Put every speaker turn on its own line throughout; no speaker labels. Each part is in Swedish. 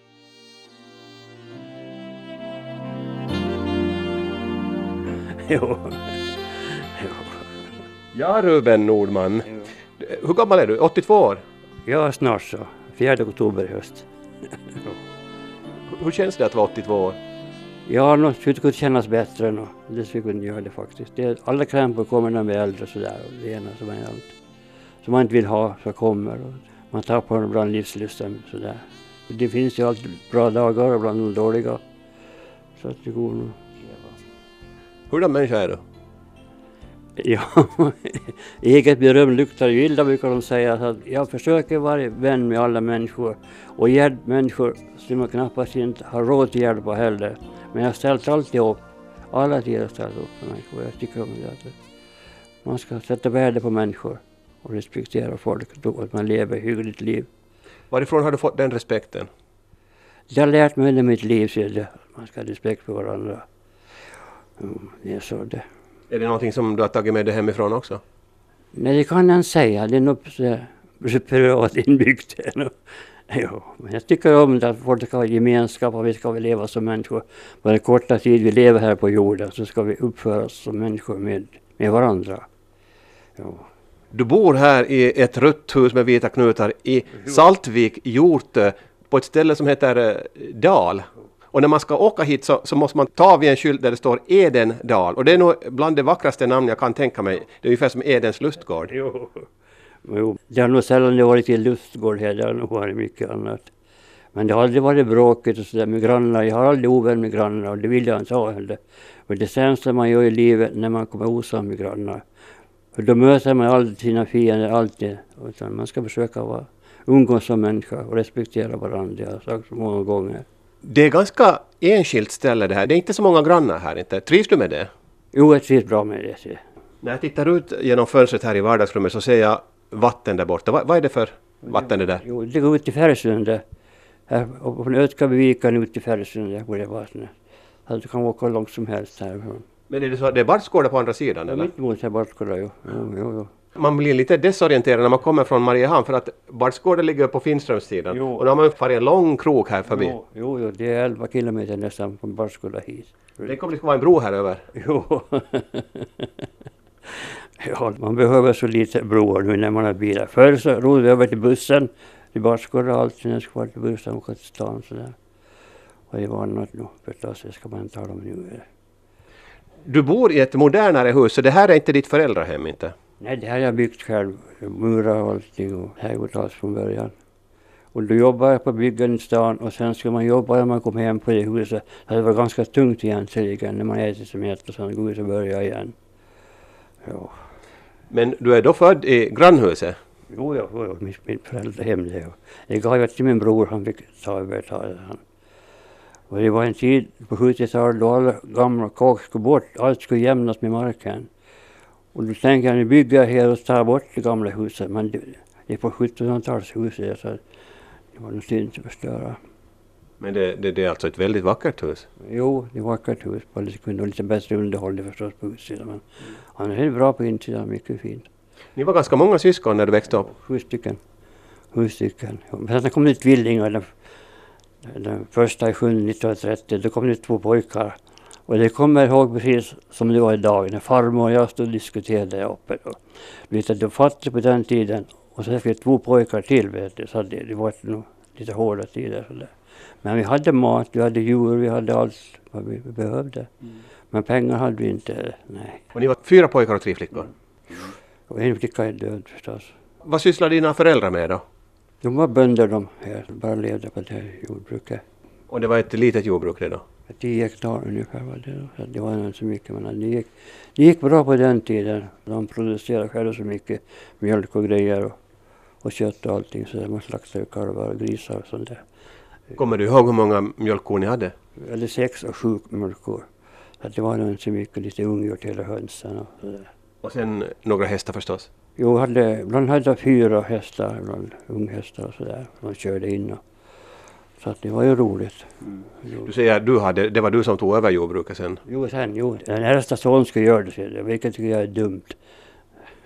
jo. jo.
Ja, Ruben Nordman. Hur gammal är du? 82 år?
Ja, snart så. 4 oktober i höst.
Hur känns det att vara 82 år?
Ja, nå skulle det kunna kännas bättre nå. Det skulle kunna göra det faktiskt. Det, är- alla krämpor kommer när man är äldre sådär. Och det ena som man, allt, som man inte vill ha så kommer. Och man tappar ibland livslusten sådär. Det finns ju alltid bra dagar och ibland de dåliga. Så att det går nog.
Hurdan människa är du?
Ja, eget beröm luktar ju illa brukar de säga. Så att jag försöker vara vän med alla människor och hjälpa människor som jag knappast inte har råd att hjälpa heller. Men jag har ställt alltid upp. Alla tider har jag ställt upp för människor. Jag tycker om det. att Man ska sätta värde på människor och respektera folk då att man lever ett hyggligt liv.
Varifrån har du fått den respekten?
Jag har lärt mig under mitt liv så är det, att man ska ha respekt för varandra. Mm, det är så det.
Är det någonting som du har tagit med dig hemifrån också?
Nej, det kan jag inte säga. Det är nog så- så privat inbyggt. det är nog. Jo, men jag tycker om det att folk ska ha gemenskap och vi ska väl leva som människor. På den korta tid vi lever här på jorden så ska vi uppföra oss som människor med, med varandra. Jo.
Du bor här i ett rött hus med vita knutar i Saltvik, Hjortö, på ett ställe som heter eh, Dal. Och när man ska åka hit så, så måste man ta vid en skylt där det står Edendal. Och det är nog bland det vackraste namn jag kan tänka mig. Det är ungefär som Edens lustgård.
Jo. jo. Det har nog sällan det varit i lustgård här, det har nog varit mycket annat. Men det har aldrig varit bråkigt och sådär med grannar. Jag har aldrig ovän med grannar och det vill jag inte ha heller. För det sämsta man gör i livet när man kommer osams med grannar. För då möter man aldrig sina fiender, alltid. Utan man ska försöka vara, umgås som människa och respektera varandra. Det har jag sagt så många gånger.
Det är ganska enskilt ställe det här. Det är inte så många grannar här inte. Trivs du med det?
Jo, jag trivs bra med det.
När jag tittar ut genom fönstret här i vardagsrummet så ser jag vatten där borta. Va, vad är det för vatten det där?
Jo, det går ut till Färsundet. Här och från Ötkabyviken ut till Färsundet går det vattnet. Så Alltså, du kan åka hur långt som helst härifrån.
Men är det så att det är barskårdar på andra sidan
Ja,
eller?
Mittemot är Barskola, jo. jo, jo, jo.
Man blir lite desorienterad när man kommer från Mariehamn för att Bardsgården ligger på Finströmssidan
Jo.
och då har man farit en lång krok här förbi.
Jo, jo, jo, det är 11 kilometer nästan från Barskola hit.
Tänk om det skulle vara en bro här över.
Jo. ja, man behöver så lite broar nu när man har bilar. Förr så rodde vi över till bussen, till Barskola och allt, när jag skulle vara till bussen och åka till stan sådär. Och det var annat nu förstås, det ska man inte tala om nu.
Du bor i ett modernare hus så det här är inte ditt föräldrahem inte?
Nej, det här har jag byggt själv. Murar och allting och trädgårdsras från början. Och då jobbade jag på byggen i stan och sen skulle man jobba när man kom hem på det huset. Så det var ganska tungt egentligen när man ätit som ett och sen går ut och börjar igen. Ja.
Men du är då född i grannhuset?
Jo, jag var mitt, mitt föräldrahem det. ja. Det gav jag till min bror, han fick ta över ta det, han. Och det var en tid på 70-talet då alla gamla kåk skulle bort, allt skulle jämnas med marken. Och då tänkte jag, nu bygger jag här och tar bort det gamla huset, men det, det är på 1700-talshuset så det var nog synd att förstöra.
Men det, det, det är alltså ett väldigt vackert hus.
Jo, det var ett vackert hus, bara det kunde vara lite bättre underhåll det förstås på utsidan. Men annars är det bra på insidan, mycket fint.
Ni var ganska många syskon när du växte upp.
Sju stycken. Sju stycken. Men sen kom det tvillingar. Den, den första i sjunde 1930. Då kom det två pojkar. Och det kommer jag ihåg precis som det var idag när farmor och jag stod och diskuterade där uppe. Då. Lite de fattig på den tiden. Och sen fick jag två pojkar till vet du. Så det, det var nog lite hårda tider. Så där. Men vi hade mat, vi hade djur, vi hade allt vad vi behövde. Men pengar hade vi inte. Nej.
Och ni var fyra pojkar och tre flickor.
Och en flicka är död förstås.
Vad sysslar dina föräldrar med då?
De var bönder de här, som bara levde på det här jordbruket.
Och det var ett litet jordbruk det då?
10 hektar ungefär var det då. Så det var inte så mycket men det gick, det gick bra på den tiden. De producerade själva så mycket mjölk och grejer och, och kött och allting så där. man slaktade kalvar och grisar och sånt där.
Kommer du ihåg hur många mjölkkor ni hade?
Eller sex och sju mjölkkor. Så att det var nog inte så mycket, lite ungjord till hela hönsen och sådär.
Och sen några hästar förstås.
Jo, hade, ibland hade jag fyra hästar, ibland unghästar och sådär. De körde in och, så att det var ju roligt. Jo.
Du säger att du hade, det var du som tog över jordbruket sen.
Jo, sen, jo. Den äldsta sonen skulle göra det, ser du, vilket tycker jag är dumt.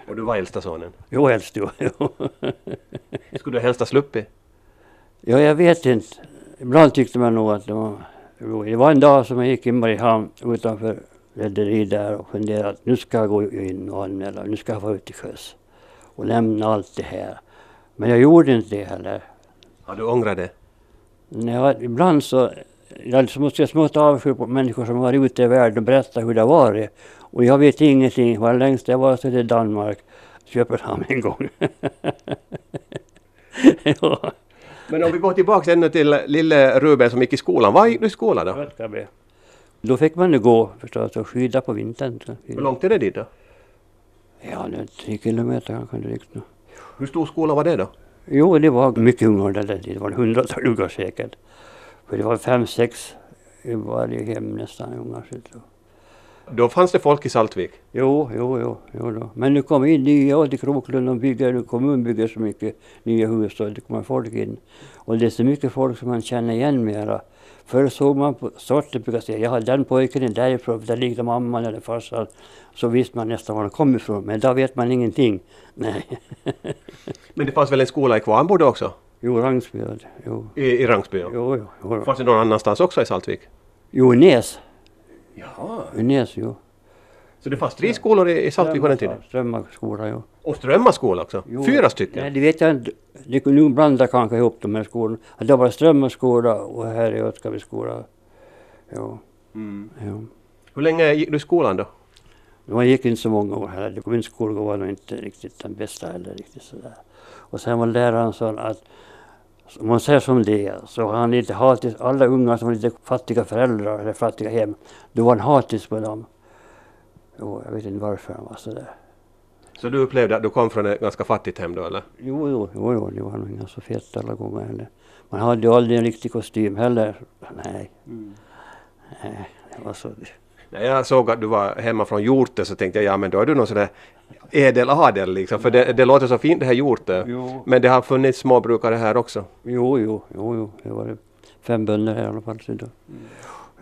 Och du var äldsta sonen.
Jo, helst jo. jo.
Skulle du helst ha sluppit?
ja, jag vet inte. Ibland tyckte man nog att det var... Jo, det var en dag som jag gick i Mariehamn utanför rederi där och funderade att nu ska jag gå in och anmäla, nu ska jag vara ute till sjöss och lämna allt det här. Men jag gjorde inte det heller.
Har du ångrat det?
Nej, ibland så, jag så måste jag smått avsky på människor som varit ute i världen och berättat hur det har varit. Och jag vet ingenting. Var längst jag var så till Danmark, Köpenhamn en gång. ja,
Men om vi går tillbaka ännu till lille Ruben som gick i skolan. Var gick du i skolan då?
Rödkabe. Då fick man ju gå förstås och skyda på vintern.
Hur långt är det dit då?
Ja, det är tre kilometer kanske drygt nu.
Hur stor skola var det då?
Jo, det var mycket ungar där den tiden. Det var ett hundratal ungar säkert. För det var fem, sex i varje hem nästan ungar. så jag tror.
Då fanns det folk i Saltvik.
Jo, jo, jo, jo då. Men nu kommer in nya och till Kroklund och bygger, nu kommun bygger så mycket nya hus och det kommer folk in. Och det är så mycket folk som man känner igen mera. Förr såg man på sorten brukar säga, jag har den pojken är därifrån, där ligger mamman eller farsan. Så visste man nästan var de kom ifrån, men idag vet man ingenting. Nej.
Men det fanns väl en skola i Kvarnbo då också?
Jo, Rangsby, ja, det- jo.
I, i Rangsby? ja.
Jo, jo, jo. då.
Fanns det någon annanstans också i Saltvik?
Jo, Näs.
Ja.
Näs, jo.
Så det fanns tre skolor i, i Saltvik på den tiden?
Strömma skola, jo.
Och Strömma skola också?
Jo.
Fyra stycken?
Nej, det vet jag inte. Det, nu blandar jag kanske ihop de här skolorna. Att Det var Strömma skola och här är Ötkaby skola. Jo,
Mm.
jo.
Hur länge gick du i skolan då?
Man gick inte så många år heller. Kommunskolan var nog inte riktigt den bästa heller. Riktigt sådär. Och sen var läraren sån att om man säger som det är, så har han lite hatisk, alla unga som har lite fattiga föräldrar eller fattiga hem, då var han hatisk på dem. Jo, jag vet inte varför han var sådär.
Så du upplevde att du kom från ett ganska fattigt hem då eller?
Jo, jo, jo, jo det var nog inga så fett alla gånger heller. Man hade ju aldrig en riktig kostym heller. Nej. Nej, det var så.
När jag såg att du var hemma från Hjorte så tänkte jag ja men då är du någon sån där ädel adel liksom. För det, det låter så fint det här Hjorte.
Jo.
Men det har funnits småbrukare här också.
Jo, jo, jo, jo. Det var det. fem bönder här i alla fall. Så då.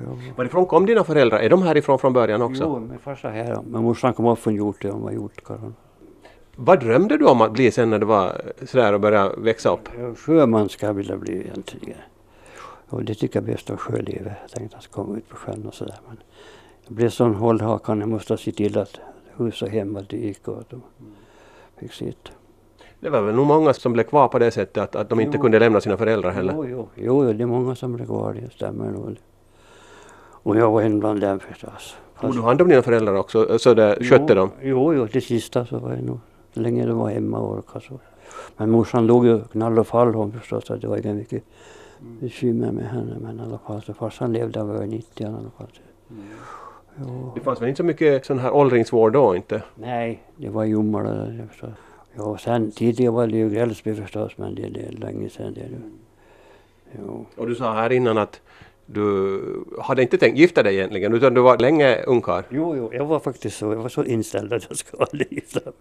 Jo.
Varifrån kom dina föräldrar? Är de härifrån från början också?
jo, min farsa här. Men morsan kom upp från Hjortö, hon var hjortkarl.
Vad drömde du om att bli sen när du var sådär och började växa upp?
Sjöman ska jag vilja bli egentligen. Och det tycker jag bäst av sjölivet. Jag tänkte att jag ska komma ut på sjön och sådär. Men jag blev sån hållhakan. Jag måste se till att hus och hem att det gick och att de fick sitt.
Det var väl nog många som blev kvar på det sättet att, att de inte
Jo.
kunde lämna sina föräldrar heller.
Jo, jo, jo, jo, det är många som blir kvar, det stämmer nog. Och jag var en bland dem förstås.
Tog du hand om dina föräldrar också? Så där, skötte
jo,
de?
Jo, jo, det sista så var jag nog, så länge de var hemma och orkade så. Men morsan låg ju knall och fall hon förstås, så det var inga mycket bekymmer med henne. Men i alla fall, så farsan levde, han var ju 90 i alla fall.
Mm.
Jo.
Det fanns väl inte så mycket sån här åldringsvård då inte?
Nej, det var i Jomala där det förstås. Ja, och sen tidigare var det ju Grälsby förstås, men det, det är länge sedan det nu. Jo.
Och du sa här innan att du hade inte tänkt gifta dig egentligen utan du var länge ungkarl.
Jo, jo, jag var faktiskt så. Jag var så inställd att jag skulle aldrig gifta mig.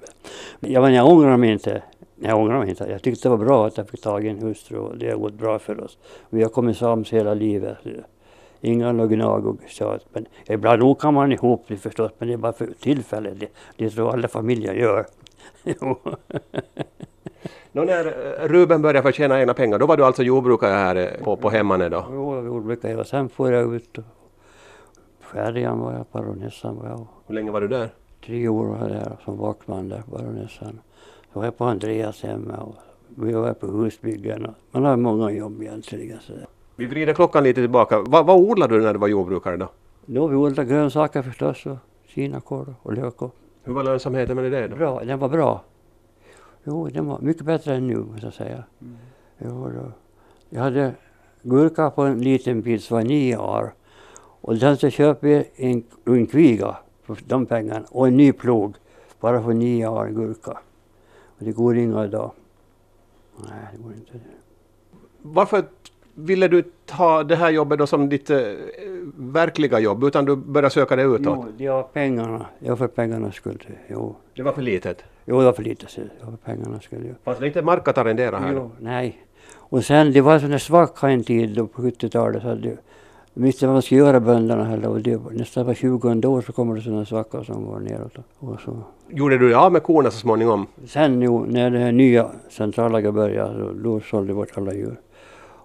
Men Jag, men jag ångrar mig inte. Jag ångrar mig inte. Jag tyckte det var bra att jag fick tag i en hustru och det har gått bra för oss. Vi har kommit sams hela livet. Inga gnag och tjat. Men ibland nog kan man ihop det förstås, men det är bara för tillfället. Det, det tror jag alla familjer gör. Jo.
Nå, när eh, Ruben började förtjäna egna pengar då var du alltså jordbrukare här eh, på, på hemmanet då?
Jo, jag gjorde mycket. Och sen får jag ut. och- Färjan var jag, baronessan var jag. och-
Hur länge var du där?
tre år var jag där som vakman där på baronessan. Så var jag på Andreas hemma och vi var på husbyggen. och- Man har många jobb egentligen. Så. där.
Vi vrider klockan lite tillbaka. Va, vad odlade du när du var jordbrukare då?
Då vi odlade grönsaker förstås och kinakål och lök. Och
Hur var lönsamheten med det då?
bra, den var bra. Jo, den var mycket bättre än nu måste jag säga. Jo, då. Jag hade gurka på en liten bit som var nio år. Och den så köpte vi en, en kviga för de pengarna och en ny plog. Bara för nio år gurka. Och det går inga idag. Nej, det går inte.
Varför ville du ta det här jobbet då som ditt eh, verkliga jobb utan du började söka det utåt?
Jo, det var pengarna. Det var för pengarnas skull. Jo,
Det var för litet.
jo det var för lite. så Det var för pengarnas skull. Jo.
Fanns det inte mark att arrendera här? då?
Jo, nej. Och sen, det var sån där svacka en tid då på 70-talet. Så att det, de visste inte vad man skulle göra bönderna heller. Och det, nästan var 20 år så kommer det sådana svackor som går neråt. Och så.
Gjorde du dig av med korna så småningom?
Sen nu, när det här nya centrallager började, så, då sålde vi bort alla djur.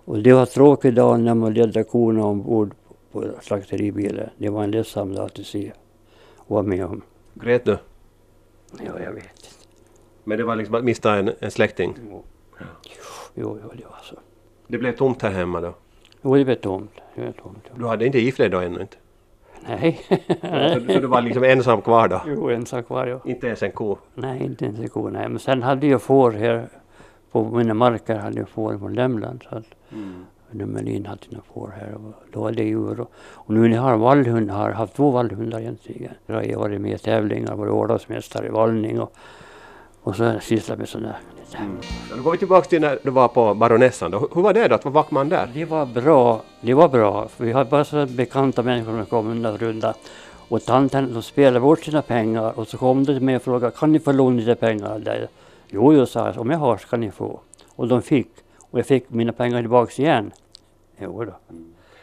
Och det var tråkig dag när man ledde korna ombord på slakteribilen. Det var en ledsam dag att se. var med om.
Grät du?
Ja, jag vet inte.
Men det var liksom att mista en, en släkting.
Jo, jo, jo det var så.
Det blev tomt här hemma då.
Jo, det blev tomt. Det blev tomt. ja.
Du hade inte gift dig då ännu inte?
Nej.
Så, så du var liksom ensam kvar då?
jo, en sak var jag.
Inte ens en ko?
Nej, inte ens en ko. Nej. Men sen hade jag får här. På mina marker hade jag får från Lämland. Så att mm. Melin hade sina får här. Och då var det djur. Och, och nu när jag har vallhundar, har jag haft två vallhundar egentligen. Jag har jag varit med i tävlingar, varit årdagsmästare i vallning. Och, och så har jag sysslat med sådana där.
Ja, Då Mm. går vi tillbaka till när du var på Baronessan då. Hur- Hur var det då att vara vaktman där?
Det var bra. Det var bra. För vi hade bara så bekanta människor som kom undan för undan. Och tanten de spelade bort sina pengar och så kom de till mig och frågade kan ni få låna lite pengar av dig? Jo, jo, sa jag, om jag har ska ni få. Och de fick. Och jag fick mina pengar tillbaks igen. Jo då.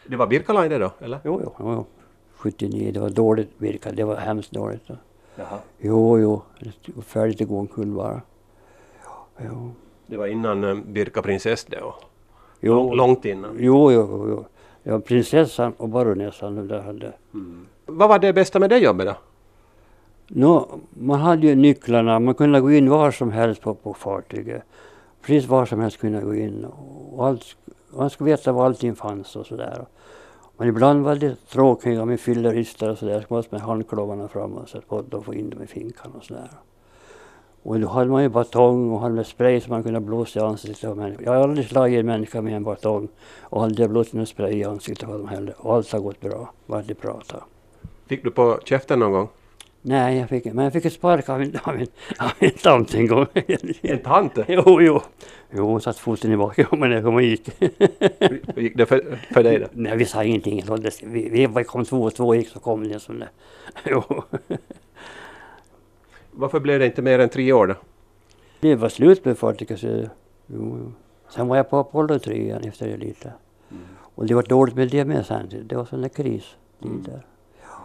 Det var Birkalainen det då, eller?
Jo, jo, jo. 79, det var dåligt virka. Det var hemskt dåligt. då.
Jaha.
Jo, jo. Det var Färdigt att gå omkull bara. Jo.
Det var innan eh, Birka prinsess det och
Jo,
långt innan.
jo, jo. jo. Ja, prinsessan och baronessan, de där hade
Vad var det bästa med det jobbet då?
Nå, man hade ju nycklarna, man kunde gå in var som helst på, på fartyget. Precis var som helst kunde gå in. Och allt, sk- man skulle veta var allting fanns och sådär. Men ibland var det tråkiga med fylleristar och sådär. Så måste man ha handklovarna framme så att folk då får in dem i finkan och sådär. Och då hade man ju batong och hade med spray som man kunde blåsa i ansiktet på människor. Jag har aldrig slagit en människa med en batong och aldrig blåst någon spray i ansiktet på dem heller. Och allt har gått bra, bara att de pratar.
Fick du på käften någon gång?
Nej, jag fick, men jag fick ett spark av min, av min, av min tant en gång.
En tante?
jo, jo. Jo, hon satte foten i bakhjulen när hon gick.
Hur gick det för, för dig då?
Nej, vi sa ingenting. Så det- Vi, vi var- kom två och två gick så kom det som det. Jo.
Varför blev det inte mer än tre år då?
Det var slut med fartyget. så- Jo, jo. Sen var jag på Apollo 3 igen efter det lite. Och det var dåligt med det med sen. Det var sådana kristider. Ja,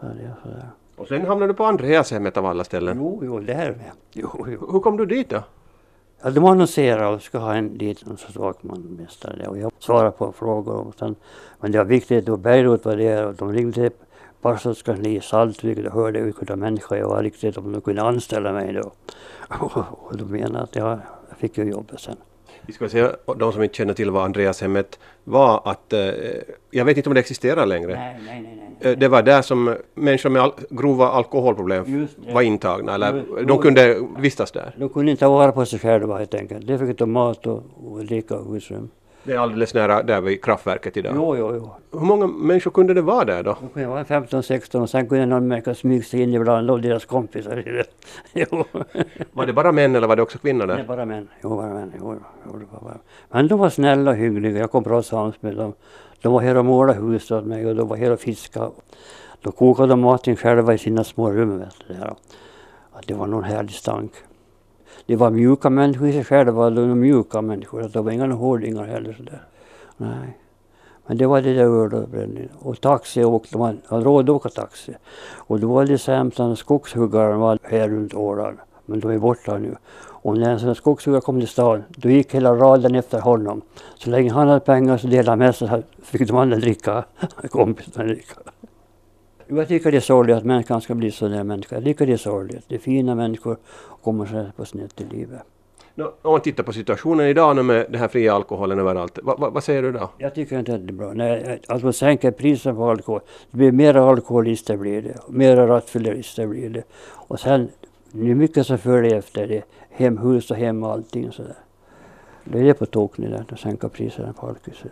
så det, så där.
Och sen hamnade du på Andreashemmet av alla ställen.
Jo, jo, det här med. Jo, jo.
Hur kom du dit då?
Ja, de annonserade och ska ha en liten vaktmästare och jag svarade på frågor. Och sen, men det var viktigt då Beirut var där och de ringde till Parsons kansli i Saltvik och då hörde jag vilka människor jag var riktigt om de kunde anställa mig då. Och de menade att jag jag fick ju jobbet sen.
Vi ska säga, och de som inte känner till vad Andreashemmet var, att eh, jag vet inte om det existerar längre.
Nej, nej, nej.
Eh, Det var där som människor med al- grova alkoholproblem
Just det.
var intagna,
Just
eller
det.
de kunde vistas där.
De kunde inte ta vara på sig själva helt enkelt. De fick de mat och, och dricka och husrum.
Det är alldeles nära där vid kraftverket idag.
Jo, jo, jo.
Hur många människor kunde det vara där då?
De kunde vara 15, 16 och sen kunde någon människa smyga sig in ibland och deras kompisar. jo.
Var det bara män eller var det också kvinnor
Nej,
där?
bara män. Jo, bara män. Jo, jo, det var bara. Men de var snälla och hyggliga. Jag kom bra sams med dem. De var här och målade hus åt mig och de var här och fiskade. De kokade de maten själva i sina små rum. Vet du, där. Att det var någon härlig stank. Det var mjuka människor i sig själva. De var mjuka människor. Att de var inga hårdingar heller. Så där. Nej. Men det var det där öl och brännvin. Och taxi åkte man. Jag hade råd att åka taxi. Och då var det sämst när skogshuggaren var här runt Åland. Men de är borta nu. Och när en sån här skogshuggare kom till stan, då gick hela raden efter honom. Så länge han hade pengar så delade han med sig, så fick de andra dricka, kompisarna dricka. Jo, Jag tycker det är sorgligt att människan ska bli sån där människa. Jag tycker det är sorgligt. Det är fina människor kommer så här på snett i livet.
Nå, Om man tittar på situationen idag nu med den här fria alkoholen överallt, vad, vad, vad säger du då?
Jag tycker inte att det är bra. Nej, att man sänker priset på alkohol. Det blir mera alkoholister blir det. Mera rattfyllerister blir det. Och sen, det är mycket som följer efter det. Hemhus och hem och allting sådär. Det är det på tok nu där, att sänka priserna på alkohol. så.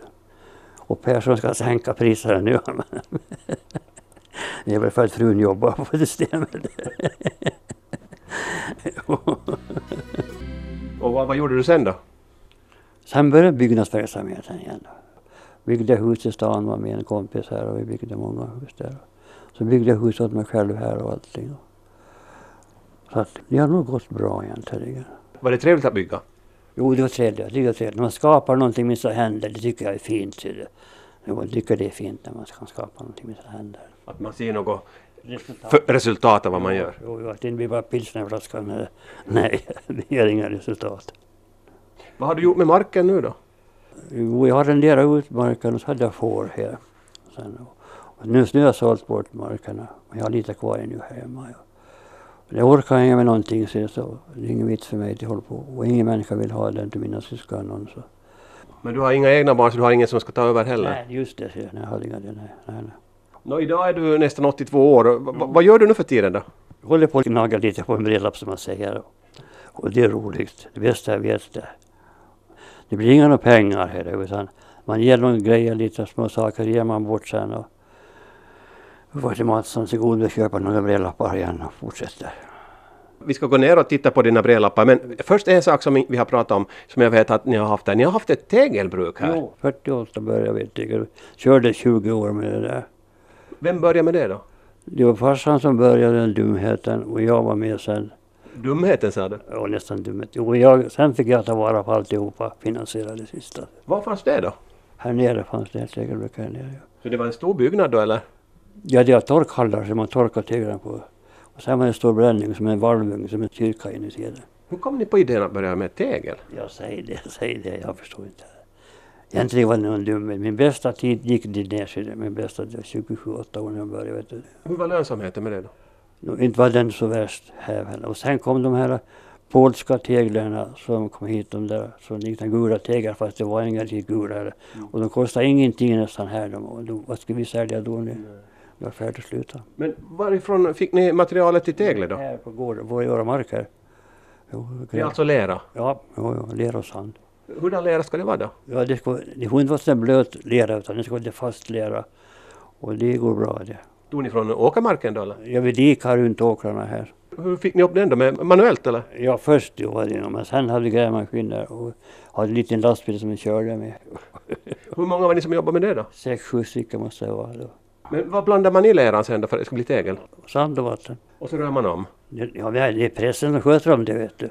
Och Persson ska sänka priserna nu. det är väl för att frun jobbar på systemet.
Och vad, vad gjorde du sen då?
Sen började byggnadsverksamheten igen. Byggde hus i stan, var med en kompis här och vi byggde många hus där. Så byggde jag hus åt mig själv här och allting. Så att det har nog gått bra egentligen.
Var det trevligt att bygga?
Jo, det var trevligt. Det var trevligt. När man skapar någonting med sina händer, det tycker jag är fint. ser du. Jo, Jag tycker det är fint när man kan skapa någonting med sina händer.
Att man ser något
Resultat.
för resultat av vad man gör?
Jo, jo, att det inte blir bara pilsnerflaskan. eller- Nej, det ger inga resultat.
Vad har du gjort med marken nu då?
Jo, jag arrenderade ut marken och så hade jag får här. Sen, och Nu, nu har jag sålt bort markerna, men jag har lite kvar ännu hemma. Och det orkar jag inte med någonting, så, jag sa, det är ingen vits för mig att hålla på. Och ingen människa vill ha den till mina syskon. Någon, så.
Men du har inga egna barn så du har ingen som ska ta över heller?
Nej, just det, säger jag. Nej, jag hade inga det. Nej, nej, nej.
Nå, idag är du nästan 82 år. Va- va- vad gör du nu för tiden då?
Jag håller på att gnaga lite på en brevlapp som man säger. Och det är roligt. Det bästa jag vet det. Det blir inga några pengar här utan man ger några grejer, lite små saker ger man bort sen. Och och var till Mattsson så god att köpa några brevlappar igen och fortsätter.
Vi ska gå ner och titta på dina brevlappar men först en sak som vi har pratat om som jag vet att ni har haft där. Ni har haft ett tegelbruk här.
48 började jag vet jag. Körde 20 år med det där.
Vem börjar med det då?
Det var farsan som började den dumheten och jag var med sen.
Dumheten sa du.
Ja, nästan dumhet. Och jag, sen fick jag ta vara på alltihopa, finansiera det sista.
Var fanns det då?
Här nere fanns det ett tegelbruk här nere. ja.
Så det var en stor byggnad då eller?
Ja, det var torkhallar som man torkade teglarna på. Och sen var det en stor bränning som en valvung, som en kyrka inuti den.
Hur kom ni på idén att börja med tegel?
Jag säger det, säger det, jag förstår inte. Egentligen var det någon dumhet. Min bästa tid gick det ner sig. Min bästa tid var 27-8 år när jag började. Vet du.
Hur var lönsamheten med det då?
Nå, Inte var den så värst här heller. Och sen kom de här polska teglarna som kom hit, de där som liknade gula teglar fast det var inga riktigt gula. här. Och de kostade ingenting nästan här. De, och då, vad skulle vi sälja då nu? Det var färdigt att sluta.
Men varifrån fick ni materialet till teglet då?
Här på gården, våra våra marker. Jo,
Det är
ja.
alltså lera.
ja, jo, jo, lera och sand.
Hurdan lera ska det vara då?
Ja, det, ska, det får inte vara sån blöt lera utan det ska vara lite fast lera. Och det går bra det.
Tog ni från åkermarken då eller?
Jag vill dika runt åkrarna här.
Hur fick ni upp den då? Med, manuellt eller?
Ja, först då var det nog, men sen hade vi grävmaskiner och hade en liten lastbil som vi körde med.
Hur många var ni som jobbade med det då?
Sex, sju stycken måste det vara då.
Men vad blandar man i leran sen då för att det ska bli tegel?
Sand och vatten.
Och så rör man om.
Det, ja, men det är pressen som sköter om det vet du.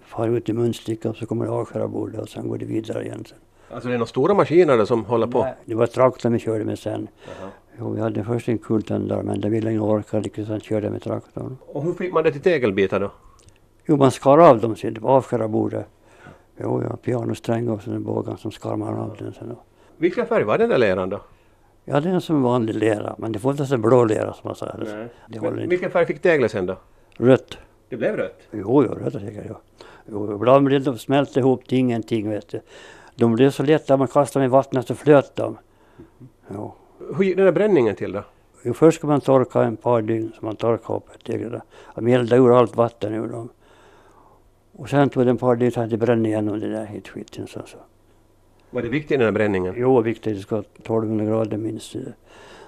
Far ut i munstickan och så kommer det avskära bordet och sen går det vidare igen. Sen.
Alltså det är några stora maskiner då som håller på?
Nej, Det var traktorn vi körde med sen.
Jaha.
Jo, vi hade först en kultändare men det ville ingen orka riktigt så han körde med traktorn.
Och hur fick man det till tegelbitar då?
Jo, man skar av dem sen, det var avskära bordet. Jo, ja, pianosträng och sen bågan som skar man av den sen.
Vilken färg var den där leran då?
Ja, det är som vanlig lera, men det får inte vara så blå lera som man säger. Det håller
Men,
inte.
vilken färg fick teglet sen då?
Rött.
Det blev rött.
Jo, jo, rött säkert. Jo. Jo, ibland blev de smälte ihop till ingenting, vet du. De blev så lätta, man kastade dem i vattnet så flöt de. Jo.
Hur gick den där bränningen till då?
Jo, först ska man torka en par dygn, så man torkar upp ett tegel. Man eldar ur allt vatten ur dem. Och sen tog det en par dygn så att det brände igenom det där hit skiten. Så, så.
Var det viktigt den där bränningen?
Jo, viktigt, det ska 1200 grader minst.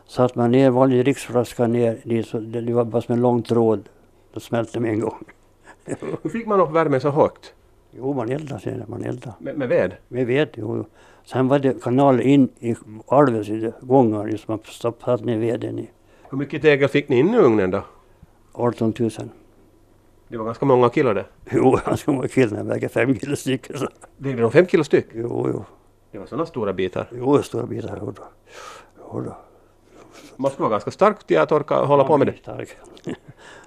Satt man ner vanlig riksflaska ner dit, så det det var bara som en lång tråd. Då smälte de en gång.
Hur fick man upp värmen så högt?
Jo, man eldade sen, man eldade.
Med, med ved?
Vi vet, jo. jo. Sen var det kanal in i alvens i det- gångar, just man stoppade ner veden i.
Hur mycket tegel fick ni in i ugnen då?
18 000.
Det var ganska många kilo det.
Jo, han skulle vara killen, han väger fem kilo styck. Så.
Vägde de fem kilo styck?
Jo, jo.
Det var sådana stora bitar.
Jo, stora bitar. Jo då. Jo då.
Man skulle vara ganska stark till att orka hålla på med det.
Stark.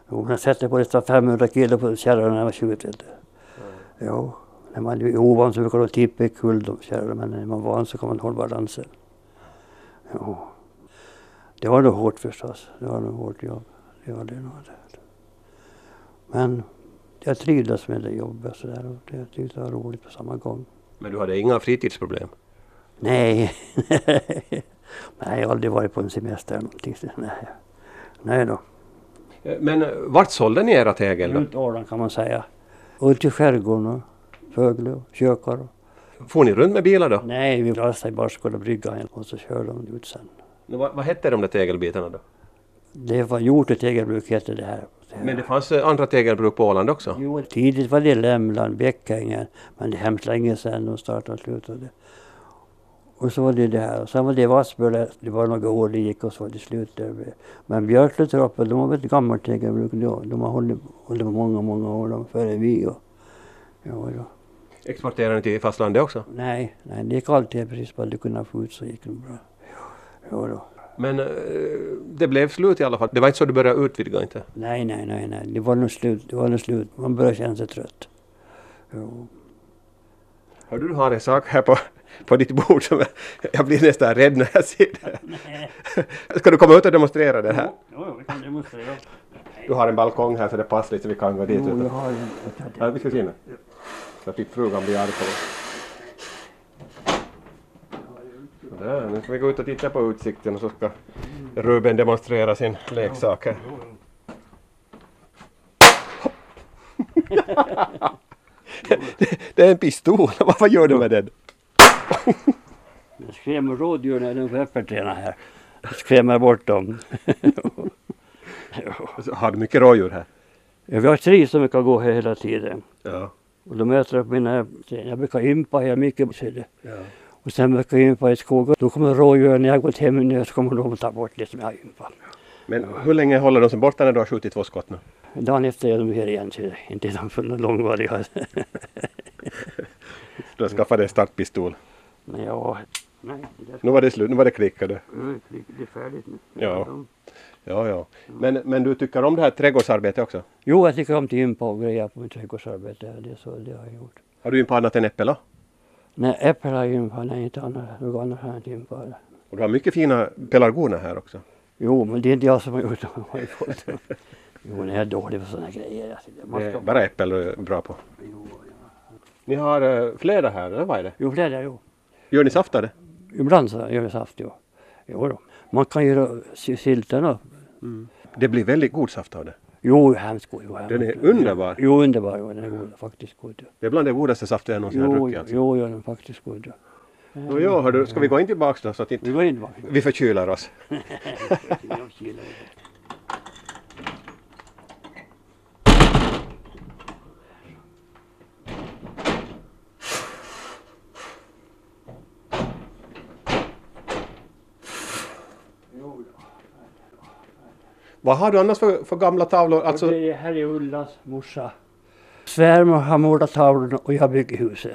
jo, men sätter på det 500 kilo på kärrorna när jag var 20. vet du. Jo, när man är ovan så brukar de tippa omkull de kärrorna, men när man är van så kan man hålla balansen. Jo. Det var nog hårt förstås. Det var nog hårt jobb. Det var det nog. det. Men jag trivdes med det jobbet så där, och det jag tyckte det var roligt på samma gång.
Men du hade inga fritidsproblem?
Nej. Nej, jag har aldrig varit på en semester eller någonting. sånt. Nej, Nej då.
Eh, Men eh, vart sålde ni era tegel då?
Runt Åland kan man säga. Ut i skärgården och Fögle och kökar. och-
Får ni runt med bilar då?
Nej, vi lastade i Barskola brygga igen och så körde de ut sen.
Nå, Vad, vad hette de där tegelbitarna då?
Det var gjort ett tegelbruk hette det här. Det här.
Men det fanns eh, andra tegelbruk på Åland också?
Jo, tidigt var det Lämland, Bäckängen, men det är hemskt länge sedan de startade och slutade. Och så var det det här. Och sen var det Vassböle, det var några år det gick och så var det slut där. med. Men Björkletorpet, de var väl ett gammalt tegelbruk då. De har hållit, hållit på många, många år de före vi. Och, ja, då.
Exporterade ni till fastlandet också?
Nej, nej, det gick alltid precis bara du kunde få ut så gick det bra. Ja, då.
Men eh, det blev slut i alla fall. Det var inte så du började utvidga inte?
Nej, nej, nej, nej, det var nog slut. Det var nog slut. Man började känna sig trött. Jo.
Hör du, du har en sak här på, på ditt bord som jag, jag blir nästan rädd när jag ser det.
Nej.
Ska du komma ut och demonstrera det här?
Jo, jo, vi kan demonstrera.
Du har en balkong här så det passar lite så vi kan gå dit.
Jo, jag
utan-
har en.
Ja, vi ska se nu. Så att inte frugan blir arg på oss. Där, nu ska vi gå ut och titta på utsikten och så ska Ruben demonstrera sin leksak här. Hopp. Det- Det är en pistol, vad gör du med den?
Jag skrämmer rådjuren när de öppertränar här. Jag skrämmer bort dem.
Alltså, Har du mycket rådjur här?
Ja, Vi har tre som brukar gå här hela tiden.
Ja.
Och de äter upp mina... Jag brukar ympa här mycket. ser du. Och sen brukar jag ympa i skogen. Då kommer rådjuren, när jag gått hem nu, så kommer de ta bort det som jag har ympat.
Men hur länge håller de sig borta när du har skjutit två skott nu?
Dagen efter är de här igen, ser du. Inte de för någon långvarig.
Du har skaffat dig en startpistol.
Men ja... Nej, det är,
Nu var det slut, nu var det klickade.
det är färdigt nu.
Ja. Ja, ja. Men, men du tycker om det här trädgårdsarbetet också?
Jo, jag tycker om till ympa och grejer på mitt trädgårdsarbete. Det är så det har jag gjort.
Har du inte annat än äpple då?
Nej, äpplen har jag ympat, nej inte annat. Något annat har jag inte ympat.
Och du har mycket fina pelargoner här också.
Jo, men det är inte jag som har gjort dem. Jag har ju fått dem. Jo, när jag är dålig på sådana grejer. alltså, det- Man
Det är
ska...
bara äppel du är bra på.
Jo,
Ni har eh, flera här, eller vad är det?
Jo, det är det, jo.
Gör ni saft av det?
Ibland så gör jag saft, jo. jo då. Man kan göra sy- sylten och...
Det blir väldigt god saft av det.
Jo, hemskt god. jo, hemskt
Den är
god.
underbar.
Jo, underbar. Jo, den är god, faktiskt god. jo.
Det är bland det godaste saften jag någonsin har
Jo,
druckit.
jo,
Alltså.
jo, den är faktiskt god. jo.
Nå, ja, hördu, ska vi gå in tillbaka då så att
Vi
inte
går in bak.
vi förkylar oss? Vad har du annars för, för gamla tavlor?
Alltså...
Alltså,
Det här är Ullas morsa. Svärmor har målat tavlorna och jag bygger huset.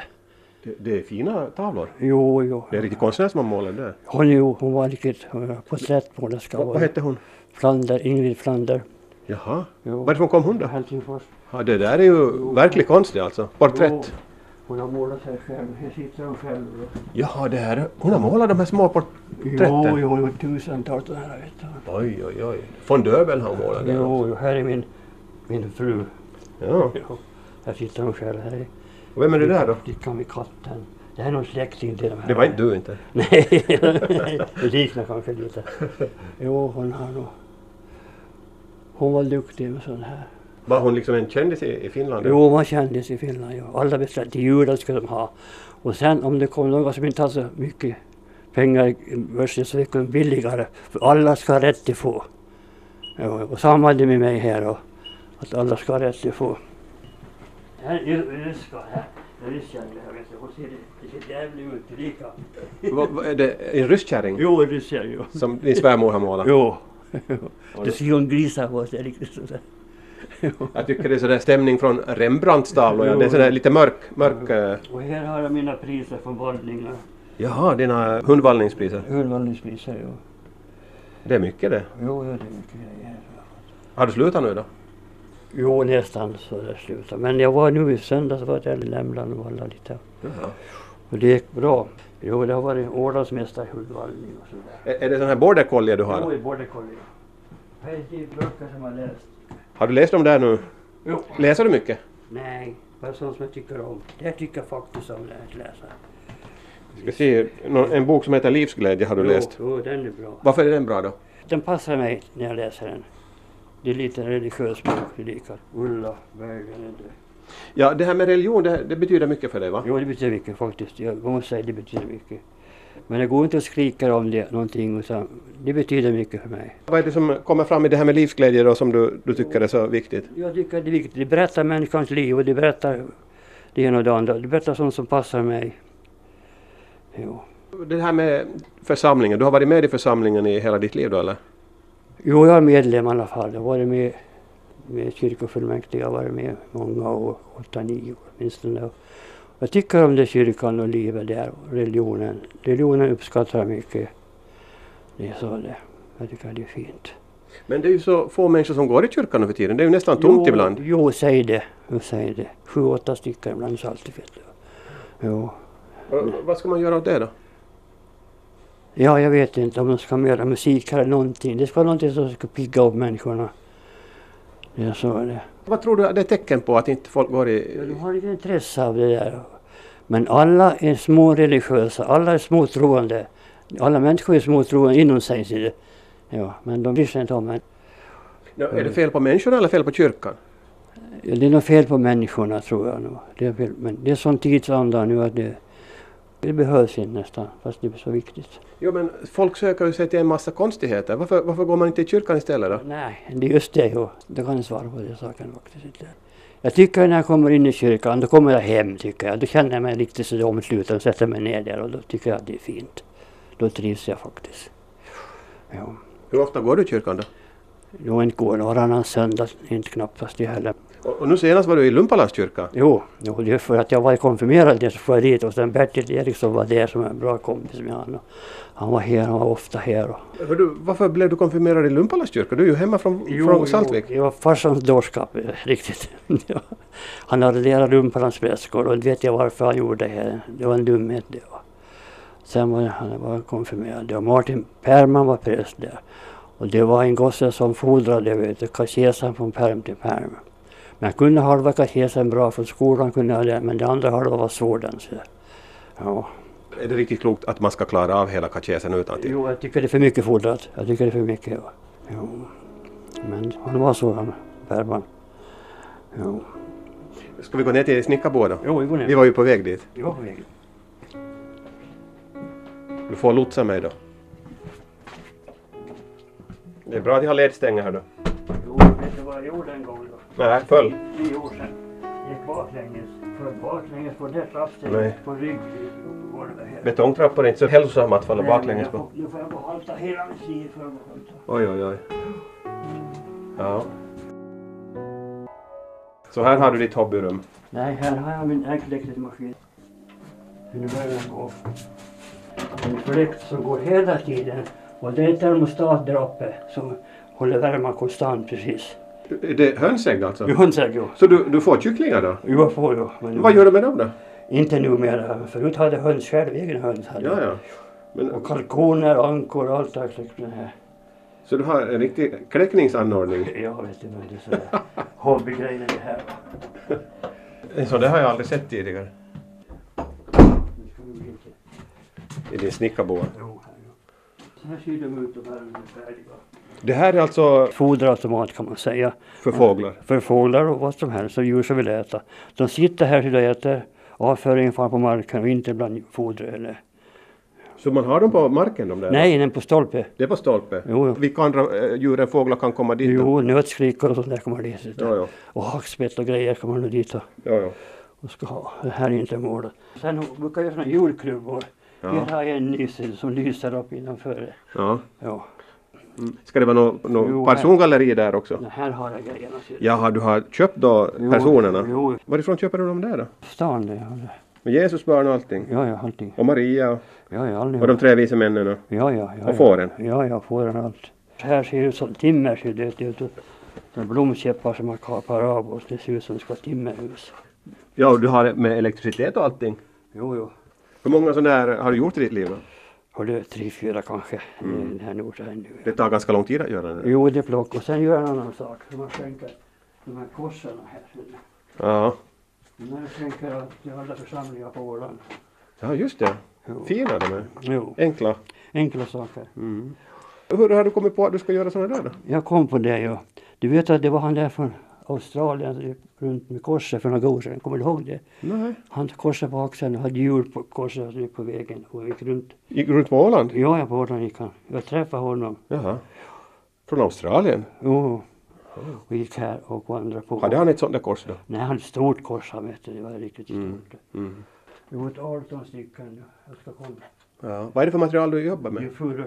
det, det är fina tavlor.
Jo, jo.
Det är riktigt konstnär som har målat det.
Hon, jo, hon var riktigt hon var porträttmålerska.
Vad, vad hette hon?
Flander, Ingrid Flander.
Jaha.
Jo.
Varifrån kom hon då?
Helsingfors.
Ja, det där är ju verklig konst det alltså. Porträtt.
Jo, Hon har målat sig själv. Här sitter hon själv. då.
Jaha, det här, är- hon har målat de här små
Jo,
porträtten.
jo, jo, tusentals sådana här. Vet du.
Oj, oj, oj. Von Döbeln har målat det.
Jo, jo, här är min, min fru.
Ja.
Jo. Här sitter hon själv. Här är
Och Vem är det där då?
flickan med katten. Det här är någon släkting till de här.
Det var inte du inte.
Nej, det liknar kanske lite. Jo, hon har nog... Hon var duktig med sån här.
Var hon liksom en kändis i, i Finland?
Jo, man kändes i Finland. Ja. Alla beställde till julen skulle de ha. Och sen om det kom någon som inte hade så mycket pengar i börsen så fick de billigare. För alla ska ha rätt till få. Ja, och samma hade med mig här då. Att alla ska ha rätt till få. Det här är ryska här. Det är ryssjärv här vet du. Hon ser, det ser jävligt ut. Lika.
Vad- vad är det en rysskärring?
Jo, ryssjärv jo.
Som din svärmor har målat?
Jo. Det ser ju en gris här på sig riktigt sådär.
Jag tycker det är sådär stämning från Rembrandts tavlor. Ja.
Jo.
Det är sådär lite mörk, mörk... eh,
Och här har jag mina priser från vandringar.
Jaha, dina hundvallningspriser.
Urvalningspriser jo.
Det är mycket det.
Jo, jo, det är mycket grejer.
Har du slutat nu då?
Jo, nästan så det slutade. Men jag var nu i söndags var jag i Lämland och vallade lite.
Jaha.
Och det gick bra. Jo, det har varit Ålandsmästare i hundvallning och sådär.
Är, är det sån här border collie du
Jo,
har?
i border collie. Här är de böcker som jag har läst.
Har du läst om det här nu?
Jo.
Läser du mycket?
Nej, bara sånt som jag tycker om. Det här tycker jag faktiskt om när jag läser.
Ska se, nå- en bok som heter Livsglädje har du läst.
Jo, jo, den är bra.
Varför är den bra då?
Den passar mig när jag läser den. Det är lite religiös bok, det är lika. Ulla Berggren är det.
Ja, det här med religion, det, det betyder mycket för dig va?
Jo, det betyder mycket faktiskt. Jag måste säga det betyder mycket. Men det går inte att skrika om det någonting, utan det betyder mycket för mig.
Vad är det som kommer fram i det här med livsglädje då som du, du tycker är så viktigt?
Jag tycker det är viktigt. Det berättar människans liv och det berättar det ena och det andra. Det berättar sånt som passar mig. Jo,
Det här med församlingen, du har varit med i församlingen i hela ditt liv då eller?
jo jag är medlem i alla fall. Jag har varit med med kyrkofullmäktige, jag har varit med många år, åtta, nio år åtminstone. Jag tycker om det kyrkan och livet där och religionen. Religionen uppskattar jag mycket. Det är så det. Jag tycker det är fint.
Men det är ju så få människor som går i kyrkan nu för tiden, det är ju nästan tomt
jo,
ibland.
Jo, säg det. Jo, säg det. Sju, åtta stycken ibland så alltid vet du. Jo.
Och Vad ska man göra åt det då?
Ja, jag vet inte om de ska göra musik eller någonting. Det ska vara någonting som ska pigga upp människorna. Ja, så är det.
Vad tror du att det är tecken på att inte folk går i...
De har inget intresse av det där. Men alla är småreligiösa, alla är småtroende. Alla människor är småtroende inom sig. ser du. Ja, men de bryr sig inte om det.
Ja, Är det fel på människorna eller fel på kyrkan?
Ja, Det är något fel på människorna tror jag nog. Det är, fel, men det är sån tidsanda nu att det, det behövs inte nästan, fast det är så viktigt.
Jo men folk söker ju sig till en massa konstigheter. Varför, varför går man inte i kyrkan istället då?
Nej, det är just det. Jo. Du kan jag svara på den saken faktiskt inte. Jag tycker när jag kommer in i kyrkan, då kommer jag hem tycker jag. Då känner jag mig riktigt så omsluten och sätter mig ner där och då tycker jag att det är fint. Då trivs jag faktiskt. Ja.
Hur ofta går du i kyrkan då?
Jo, inte går det varannan söndag, inte knappast det heller.
Och, och nu senast var du i Lumpalas kyrka.
Jo, jo, det är för att jag var konfirmerad där så får jag dit och sen Bertil Eriksson var där som är en bra kompis med honom. Han var här, han var ofta här. Och,
Hör du, varför blev du konfirmerad i Lumpalas kyrka? Du är ju hemma från, från Saltvik.
Jo, det var farsans dårskap, eh, riktigt. Ja. han arrenderade Lumpalans prästgård och inte vet jag varför han gjorde det här. Det var en dumhet det var. Sen var han var konfirmerad och Martin Perman var präst där. Och det var en gosse som fodrade vet du, katekesen från perm till perm. Men jag kunde halva katekesen bra från skolan kunde jag det, men det andra halva var svården. Så. Ja.
Är det riktigt klokt att man ska klara av hela katekesen utan till?
Jo, jag tycker det är för mycket fordrat. Jag tycker det är för mycket. Ja. Jo. Men han var så han, Bergman. Jo.
Ska vi gå ner till Snickarbo då?
Jo, vi går
Vi
ner.
var ju på väg dit.
Vi var på väg.
Du får lotsa mig då. Det är bra att jag har ledstänger här då.
Jo, vet du vad jag gjorde en gång då?
Nej, föll.
Tio år sedan. Gick baklänges. Föll baklänges på det
Nej.
trappsteget. På rygggolvet här.
Betongtrappor är inte så hälsosamma att falla
Nej,
baklänges
jag
på.
får- Nu får jag gå och halta hela min sida för att gå och halta.
Oj, oj, oj. Ja. Så här har du ditt hobbyrum.
Nej, här har jag min äggläckningsmaskin. Nu börjar den gå. En fläkt som går hela tiden. Och det är en termostat där uppe som håller värmen konstant precis.
Det är hönsägg alltså?
Jo, hon säger jo.
Så du, du får kycklingar då?
Jo, jag får ju. Men
Vad gör du med dem då?
Inte numera. Förut hade jag höns själv, egen höns hade jag.
Ja, ja. Men,
Och kalkoner, ankor och allt det här.
så du har en riktig kläckningsanordning?
Jag vet inte, men det är sådär hobbygrejer det här.
Så det har jag aldrig sett tidigare.
Nu ska vi gå in till-
I din snickarboa.
Jo, här, jo. Så här ser de ut, de här är färdiga.
Det här är alltså
Foderautomat kan man säga.
för fåglar?
för fåglar och vad som helst och djur som vill äta. De sitter här och äter. Avföringen far på marken och inte bland foder eller...
Så man har dem på marken de där?
Nej, den på stolpe.
Det är på stolpe?
Jo, jo.
Vilka andra eh, djur än fåglar kan komma dit? då?
Jo, nötskrickor och sånt där kommer dit.
Ja, ja.
Och hackspett och grejer kommer nog dit och,
ja, ja.
och ska ha. Det här är inte målet. Sen brukar jag göra såna julklubbor.
Ja.
Här har jag en nysel som lyser upp innanför.
ja.
Ja,
Ska det vara något
Jo,
no
här.
persongalleri där också?
den här har jag grejerna. ser du.
Jaha, du har köpt då
Jo,
personerna?
Jo,
Varifrån köper du dem där då?
stan det. har det.
Med Jesus barn och allting?
Ja, ja, allting.
Och Maria och,
Ja, ja,
och
allihop.
de tre vise männen? Och,
Ja, ja. ja
Och fåren?
Ja, ja, ja fåren och allt. Så här ser det ut som timmer, ser det ut. och Med blomkäppar som man kapar av och det ser ut som det ska vara timmerhus.
ja, och du har det med elektricitet och allting?
Jo, jo.
Hur många sådana här har du gjort i ditt liv? Då?
Har du tre, fyra kanske? Mm. Den här notan här nu.
Det tar ganska lång tid att göra det.
Jo, det plock. Och sen gör jag en annan sak. Så man skänker de här korsen här. ser du.
Ja,
De här skänker jag till alla församlingar på Åland.
ja just det.
Jo.
Fina de är.
jo,
Enkla.
enkla saker.
Hur har du kommit på att du ska göra sådana där då?
Jag kom på det ju. Du vet att det var han där från Australien runt med korset för några år sedan. Kommer du ihåg det?
Nej.
Han korsade på axeln och hade hjul på korset på vägen och gick runt.
Gick runt på Åland?
Ja, jag på Åland gick han. Jag träffade honom.
Jaha. Från Australien?
Jo. Och gick här och vandrade på.
Hade han ett sånt där kors då?
Nej, han hade ett stort kors han vet du. Det var riktigt
Mm.
stort. Det var ett 18 stycken. Jag ska kolla.
Ja. Vad är det för material du jobbar
Det är
med?
furu.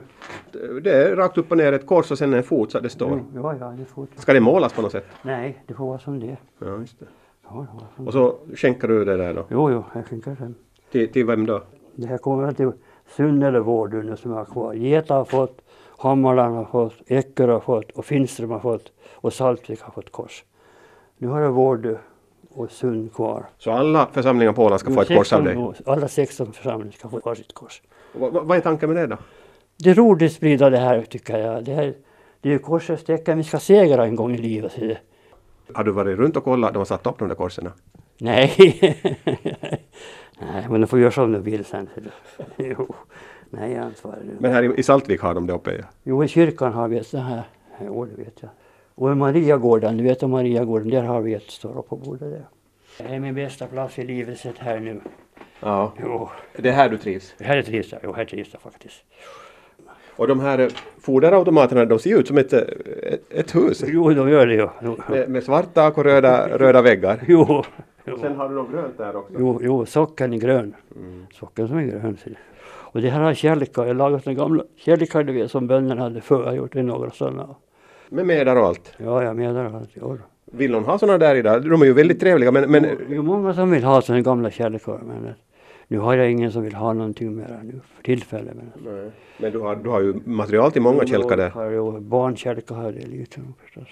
Det är rakt upp och ner ett kors och sen en fot så att det står.
Jo, Ja, ja, det får
Ska det målas på något sätt?
Nej, det får vara som det är.
Ja, just det.
Ja, det får vara som det är.
Och så skänker du det där då?
Jo, jo, jag skickar sen.
Till, till vem då?
Det här kommer väl till Sunnele Vårdu nu som jag har kvar. Geta har fått, Hammarland har fått, Eckerö har fått och Finström har fått och Saltvik har fått kors. Nu har jag Vårdu och Sund kvar.
Så alla församlingar på Åland ska få ett kors av dig?
Jo, 16 Alla 16 församlingar ska få varsitt kors.
Vad, vad vad är tanken med det då?
Det är roligt att sprida det här tycker jag. Det, här, det är ju korsets tecken, vi ska segra en gång i livet. säger jag.
Har du varit runt och kollat? De har satt upp de där korserna.
Nej. Nej, men de får göra som de vill sen. ser du. Jo. Nej, jag har inte varit runt.
Men här i- i Saltvik har de det uppe. ja.
Jo, i kyrkan har vi ett sånt här. Jo, det vet jag. Och i Mariagården, du vet om Mariagården, där har vi ett står på bordet där. Det här är min bästa plats i livet sett här nu.
Ja.
Jo,
Det är här du trivs?
här är trivs jag. Jo, här trivs jag faktiskt.
Och de här eh, foderautomaterna, de ser ju ut som ett, eh, ett, ett hus.
Jo, de gör det ju. Jo,
Med, med svart tak och röda, röda väggar.
jo,
Och sen har du något grönt där också.
jo, jo socken är grön. Socken som är grön. ser du. Och det här har kärlekar. Jag lagat den gamla kärlekar du vet som bönderna hade förr. Jag har gjort det några sådana.
Med medar och allt.
Ja, jag menar att jag
Vill någon ha sådana där idag? De är ju väldigt trevliga men, men
Det är många som vill ha sina gamla kärlekar men eh, nu har jag ingen som vill ha någonting mer nu för tillfället. Men,
Nej. Men du har, du har ju material till många kälkar där.
Har ju barnkälkar har det lite nog förstås.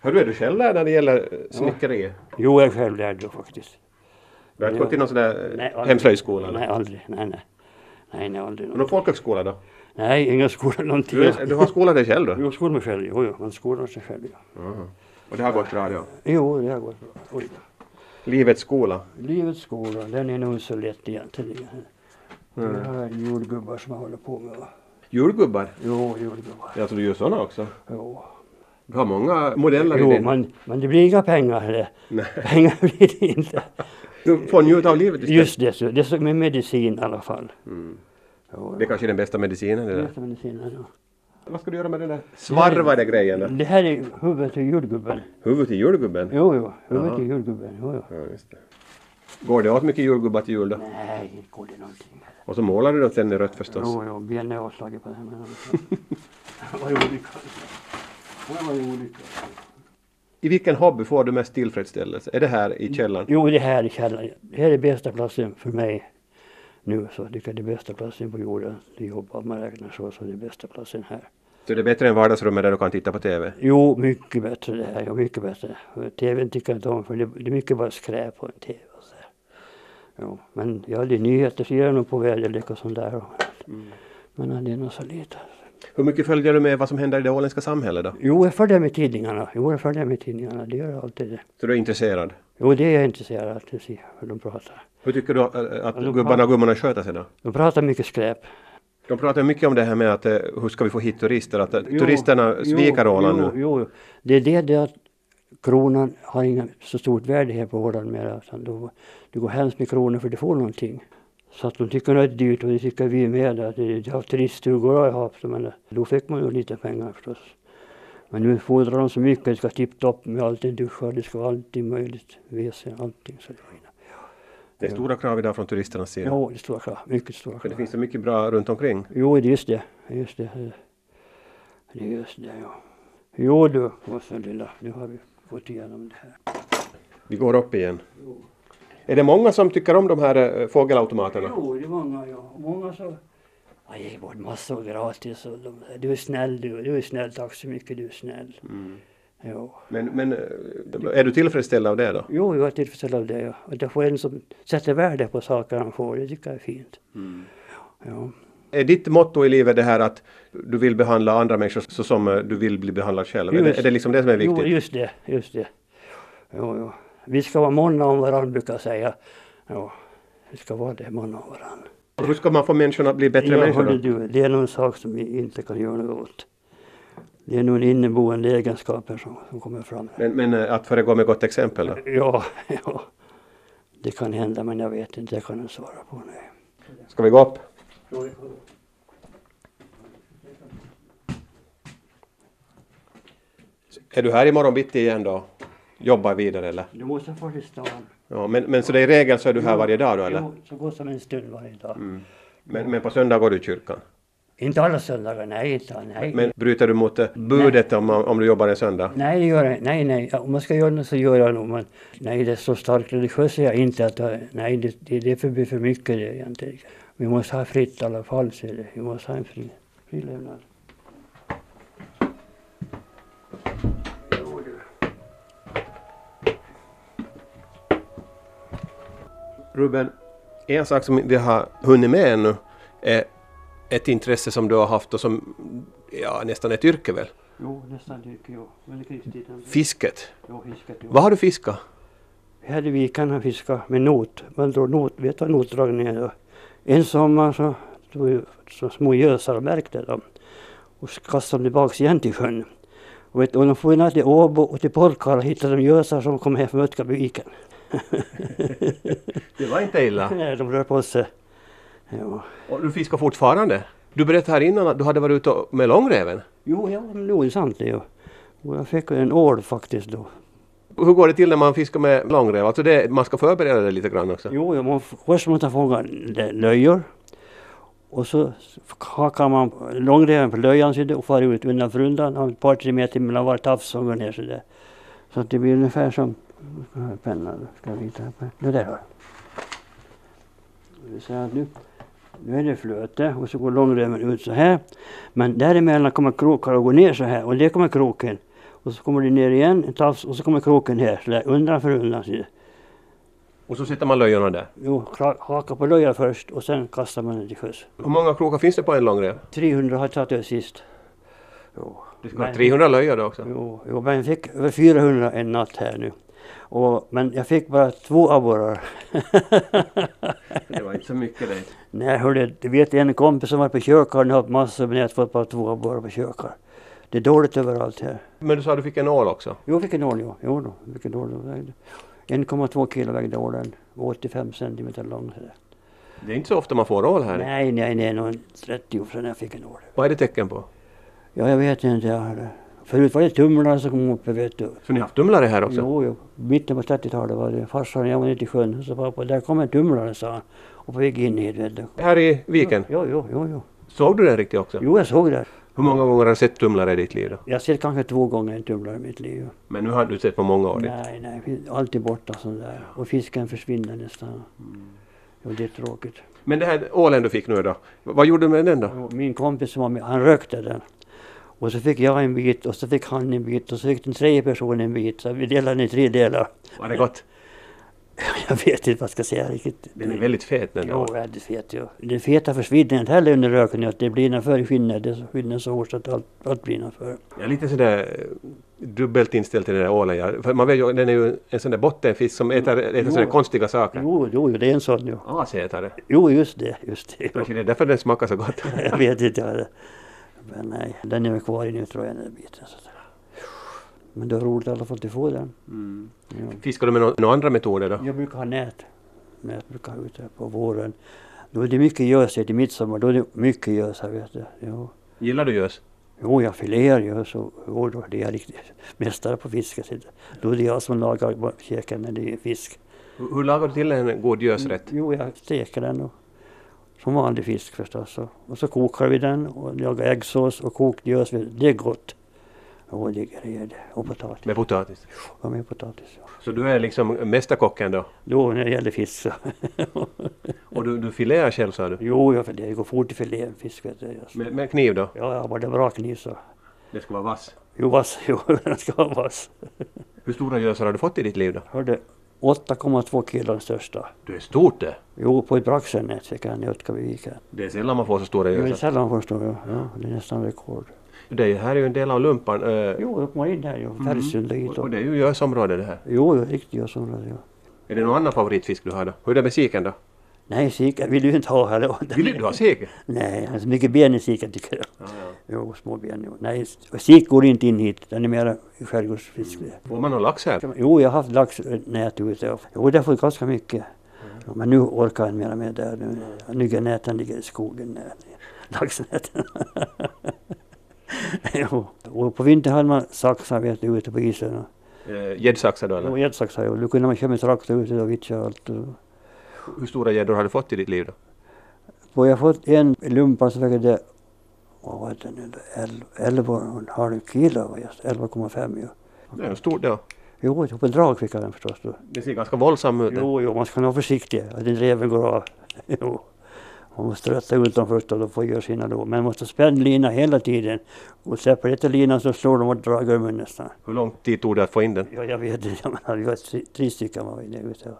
Hörru, är du själv där när det gäller eh, snickeri?
Jo, jag är själv lärd då faktiskt.
Du har inte gått i någon sån där eh,
aldrig.
hemslöjdsskola? eller?
Nej, aldrig. Nej, nej. Nej, nej, aldrig.
Och Någon folkhögskola då?
Nej, ingen skola någonting.
Du, är- du har skolat dig själv då?
Jo, skola mig själv. Jo, jo, man skolar sig själv. Ja.
Och det har gått bra då?
Jo, det har gått bra. Oj.
Livets skola?
Livets skola, den är nog inte så lätt egentligen. Det här är julgubbar som jag håller på med.
Julgubbar?
Jo, julgubbar.
Ja, så du gör sådana också?
Jo.
Du har många modeller i
Jo,
din.
men, men det blir inga pengar. här.
Nej.
Pengar blir det inte.
Du får njuta av livet istället.
Just det, Mm. så, det som är medicin i alla fall. Jo,
Det är kanske är den bästa medicinen. Det
det är
där.
som medicin,
Mm. Vad ska du göra med den där svarvade grejen?
ja.
då?
Det här är huvudet till julgubben.
Huvudet i julgubben?
Jo, jo, huvudet till julgubben. Jo, jo.
Ja, just det. Går det åt mycket julgubbar till jul då?
Nej, inte går det någonting.
Och så målar du dem sen i rött förstås.
Jo, jo, benen är avslaget på det här. men- Det var ju olycka. Det var ju olycka.
I vilken hobby får du mest tillfredsställelse? Är det här
Mm.
i källaren?
Jo, det här är källaren. Det här är bästa platsen för mig nu. Så jag tycker det är bästa platsen på jorden. Det jobbar man räknar så, så det är bästa platsen här.
Så det är bättre än vardagsrummet där du kan titta på TV?
Jo, mycket bättre det här. Ja, mycket bättre. TVn tycker jag inte om för det, det är mycket bara skräp på en TV. Och så där. Jo, men ja, det är nyheter ser jag nog på väderlek och sånt där. Men ja, det är nog så lite.
Hur mycket följer du med vad som händer i det åländska samhället då?
Jo, jag följer med tidningarna. Jo, jag följer med tidningarna. Det gör jag alltid. Det.
Så du är intresserad?
Jo, det är jag intresserad av att se hur de pratar.
Hur tycker du eh, att
Ja, de
gubbarna och gummorna sköter sig då?
De pratar mycket skräp.
De pratar mycket om det här med att eh, hur ska vi få hit turister? Att eh,
Jo,
turisterna sviker
jo,
Åland
jo,
nu.
Jo, jo. det är det, det att kronan har inga så stort värde här på Åland mera. utan då- Det går hemskt med kronor för det får någonting. Så att de tycker det är dyrt och det tycker vi med. Att det, jag har turiststugor har jag haft, men eh, då fick man ju lite pengar förstås. Men nu fordrar de så mycket, det ska tipptopp med allting, duschar, det ska vara allting möjligt, WC, allting. Så det,
Det är stora krav idag från turisternas sida.
jo, det står klart, mycket står
För det
klart.
finns så mycket bra runt omkring.
Jo, det är just det. Just det. Det är just det, ja. Jo du, Åsa lilla, nu har vi gått igenom det här.
Vi går upp igen. Är det många som tycker om de här eh, fågelautomaterna?
Jo, det är många, ja. Många så... Jag ger bort massor gratis. Och de, du är snäll du, du är snäll, tack så mycket, du är snäll.
Mm.
Jo.
Men, men eh, är du tillfredsställd av det då?
jo, jag är tillfredsställd av det. Ja. Och det får en som sätter värde på saker han får, det tycker jag är fint.
Mm.
Ja.
Är ditt motto i livet det här att du vill behandla andra människor så som eh, du vill bli behandlad själv? Är det,
Just-
är det liksom det som är
Jo,
viktigt?
just det, just det. Jo, jo. Vi ska vara måna om varandra, brukar jag säga. Jo, vi ska vara det, måna om varandra.
Hur ska man få människorna att bli bättre
Ja,
människor?
hörde
Då?
du, det är någon sak som vi inte kan göra något åt. Det är nog en inneboende egenskaper som, som kommer fram.
Men, men eh, att föregå med gott exempel? Då?
Ja, ja, det kan hända men jag vet inte, jag kan inte svara på nej.
Ska vi gå upp? Är du här imorgon bitti igen då? Jobbar vidare eller?
Du måste få till stan.
Ja, men, men så det är i regel så är du här varje dag då eller? Mm.
Jo, så gott som en stund varje dag.
Men, men på söndag går du i kyrkan?
Inte alla söndagar, nej, inte, nej.
Men bryter du mot eh, budet om, om du jobbar en söndag?
Nej, det gör jag inte. Nej, nej. Om man ska göra något så gör jag nog. Men nej, det är så starkt religiöst är jag inte. Att, jag- nej, det, det, det blir för mycket det egentligen. Vi måste ha fritt i alla fall, ser du. Vi måste ha en fri, fri levnad. Jo, du.
Ruben, en sak som vi har hunnit med ännu är ett intresse som du har haft och som ja, nästan ett yrke väl?
Jo, nästan dyker jag. Men det kristiden.
Fisket.
Jo, fisket. Jo.
Vad har du fiskat?
Här i viken har fiskat med not. Man drar not, vet vad notdragning är då? En sommar så tog ju så små gösar och märkte dem. Och så kastade dem tillbaks igen till sjön. Och, vet, du, och de for ner till Åbo och till Porkala hittade de gösar som kom hem från Ötkabyviken.
Det var inte illa.
Nej, de rör på sig. Ja.
Och du fiskar fortfarande? Du berättade här innan att du hade varit ute och- med långräven.
Jo, ja, men det är sant det ju. Och jag fick en ål faktiskt då.
Hur går det till när man fiskar med långräv? Alltså det, man ska förbereda det lite grann också.
Jo, jag må, först måste jag fånga le- löjor. Och så hakar man långreven på löjan så det- och far ut undan för undan. Har ett par tre meter mellan varje tafs och går ner sådär. Så att det blir ungefär som... Nu ska jag ha pennan. Ska jag rita här på- Nu där har jag. Så här, nu, nu är det flöte och så går långreven ut så här. Men däremellan kommer krokar och går ner så här och det kommer kroken. Och så kommer det ner igen, en tafs och så kommer kroken här. Så där, undan för undan. Så där.
Och så sätter man löjorna där.
Jo, kla- haka på löja först och sen kastar man den till sjöss.
Hur många krokar finns det på en långräv?
300 har jag tagit över sist. Jo.
Du ska ha
Nej.
300 löjor då också.
Jo, jo, men jag fick över 400 en natt här nu. Och, men jag fick bara två abborrar.
Det var inte så mycket det.
Nej, hörde, du vet en kompis som var på kökaren och har haft massor men jag har fått bara två abborrar på kökar. Det är dåligt överallt här.
Men du sa att du fick en ål också.
Jo, vilken ål jo. Jo då, vilken ål den vägde. 1,2 kilo vägde ålen. och 85 centimeter lång. så där.
Det är inte så ofta man får ål här.
Nej, nej, nej, nog 30 år sedan jag fick en ål.
Vad är det tecken på?
Ja, jag vet inte. Jag hade. Förut var det tumlare som kom upp, vet du.
Så ni har haft tumlare här också?
Jo, jo. Mitten på 30-talet var det. Farsan och jag var ute i sjön. Så pappa, där kom en tumlare, sa han. Och på väg in hit, vet du.
Här i viken?
Jo, jo, jo, jo.
Såg du den riktigt också?
Jo, jag såg det.
Hur många gånger har du sett tumlare i ditt liv då?
Jag har sett kanske två gånger en tumlare i mitt liv.
Men nu har du sett på många år. inte?
Nej, nej. Allt är borta sånt där. Och fisken försvinner nästan. Jo, det är tråkigt.
Men det här ålen du fick nu då? Vad gjorde du med den då?
Jo, Min kompis som var med, han rökte den. Och så fick jag en bit och så fick han en bit och så fick den tredje personen en bit. Så vi delade den i tre delar.
Var det gott?
Jag vet inte vad jag ska säga riktigt.
Den är väldigt fet den
Jo,
där.
ja, det fet ju. Den feta försvinner inte heller under röken. Att det blir innanför i skinnet. Det är skinnet så hårt så att allt, allt blir innanför.
Jag är lite sådär eh, dubbelt inställd till den där ålen. ja. För man vet ju, den är ju en sån där bottenfisk som äter, äter
Jo.
sådana konstiga saker.
Jo, jo, jo, det är en sån ju.
Asätare.
Jo, just det. Just det.
Kanske det är därför den smakar så gott.
Jag vet inte. vad det- Men nej, den är väl kvar i nu tror jag, den där biten. Så att- Men det var roligt i alla fall att få den. Ja.
Fiskar du med nå- några andra metoder då?
Jag brukar ha nät. Nät brukar jag ha ute på våren. Då är det mycket gös till midsommar. Då är det mycket gös här, vet du. Jo.
Gillar du gös?
Jo, jag filear ju så jo, då det är jag riktigt mästare på fiske. så det- Då är det jag som lagar vad- käken när det är fisk.
Hur hur lagar du till en god gösrätt?
Jo, jag steker den och, som vanlig fisk förstås. Och, och så kokar vi den och lagar äggsås och kokt gös. Det är gott. Jo, det är grejer det. Och potatis.
Med potatis?
Och med potatis. ja.
Så du är liksom mästerkocken då?
Då när det gäller fisk så.
Och du, du filear själv sa du?
jo, jag filear. Det går fort i filén fisk vet du. alltså.
Med, med kniv då?
Ja, jag har bara bra kniv så.
Det ska vara vass.
Jo, vass. Jo, den ska vara vass.
Hur stora gösar har du fått i ditt liv då?
Hörde, 8,2 kilo den största.
Du är stort det!
Jo, på ett braxenät fick han i Ötkabyviken.
Det är sällan man får så stora
Det är
gösar.
sällan förstår jag. Ja, det är nästan rekord.
Det är ju, här är ju en del av lumpan. eh,
Jo, upp man in där ju. Färgsund och hit.
Mm. och- Och
och-
det är ju gösområde det här.
Jo, jo, riktigt jag som det.
Är det någon annan favoritfisk du har då? Hur är det med siken då?
Nej, sika vill du inte ha heller.
Vill du ha sik?
Nej, han har så mycket ben i sika tycker jag. Jo, små ben. Jo. Nej, sik går inte in hit. Den är mer skärgårdsfisk. det.
Får man någon lax här?
Jo, jag har haft laxnät ute. Jo, det har fått ganska mycket. Ja, men nu orkar jag inte mera med det. här Nu, nu ligger näten ligger i skogen. där. Laxnäten. jo. Och på vintern hade man saxar vet du, ute på isen. och-
Eh, Gäddsaxar då
Och
eller?
gäddsaxar. och Då kunde man köra med traktor ute och vittja och allt. och-
Hur stora gäddor har du fått i ditt liv då?
Och jag fått en lumpa som vägde, vad var det nu, 11,5 kilo. var just 11,5 ju.
Det är en stor då.
Jo, på drag fick jag den förstås då.
Det ser ganska våldsam ut.
Jo, jo, man ska nog vara försiktig. Att inte reven går av. Jo. Man måste rätta ut dem först och då får göra sina då. Men man måste spänna linan hela tiden. Och släpper inte linan så slår de och drar gummin nästan.
Hur lång tid tog det att få in den?
Ja, jag vet inte. Jag menar, vi var tre- tre stycken var vi där ute.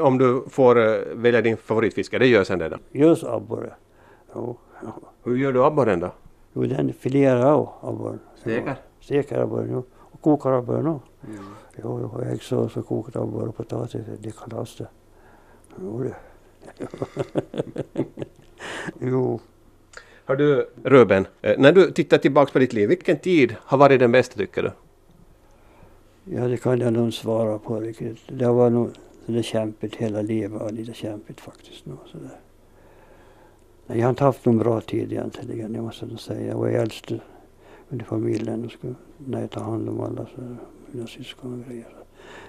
Om du får eh, välja din favoritfiske, det gör sen det då.
Just abborre. Jo, ja.
Hur gör du abborren då?
jo den filerar jag abborren. Steker abborren, jo. Och kokar abborren också. Jo, jo, och äggsås och kokt abborre och potatis, det är kalas det. Jo, det. jo.
Har du, Ruben, eh, när du tittar tillbaka på ditt liv, vilken tid har varit den bästa tycker du?
Ja, det kan jag nog inte svara på riktigt. Det var nog det kämpigt hela livet. var lite kämpigt faktiskt. Nog, sådär. Nej, jag har inte haft någon bra tid egentligen, det måste jag nog säga. Jag var äldst under familjen och skulle när jag ta hand om alla så, mina syskon och grejer.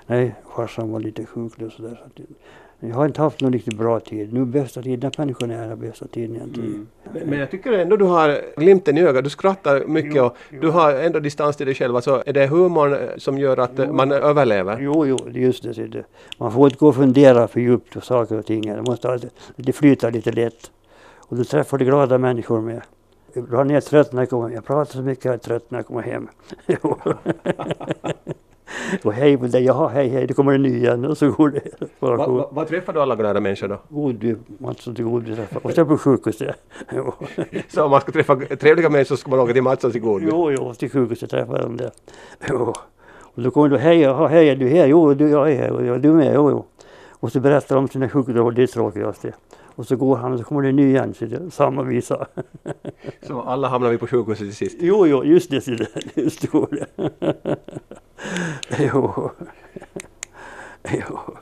Nej, farsan var lite sjuk då sådär. Så att, jag- jag har inte haft någon riktigt bra tid. Nu bästa tiden, när pensionärer är bästa tiden egentligen.
Mm. Men, men jag tycker ändå du har glimten i ögat, du skrattar mycket och du har ändå distans till dig själv. Alltså, är det humorn eh, som gör att eh, man överlever?
Jo, jo, det är just det. det. Man får inte gå och fundera för djupt på saker och ting. Det måste alltid, det flyter lite lätt. Och du träffar du glada människor med. Ibland är jag trött när jag kommer Jag pratar så mycket jag är trött när jag kommer hem. Jo. och hej på dig, jaha hej hej, det kommer en ny igen. Och så går det. Bara
Vad
går.
va, vad träffar du alla glada människor då?
God du, Mattsson till god du träffar. Och sen på sjukhuset. Jo.
Så om man ska träffa trevliga människor så ska man åka till Matssons i Godby?
jo, jo, till sjukhuset träffar jag dem där. Jo. Och då kommer du, hej, jaha hej, är du här? Jo, du, jag är här. Och jag, du med? Jo, jo. Och så berättar de sina sjukdomar, det är tråkigast det. Och så går han och så kommer det en ny igen, så det är samma visa.
Så alla hamnar vi på sjukhuset till sist.
Jo, jo, just det, så det- just det går det. Jo. Jo.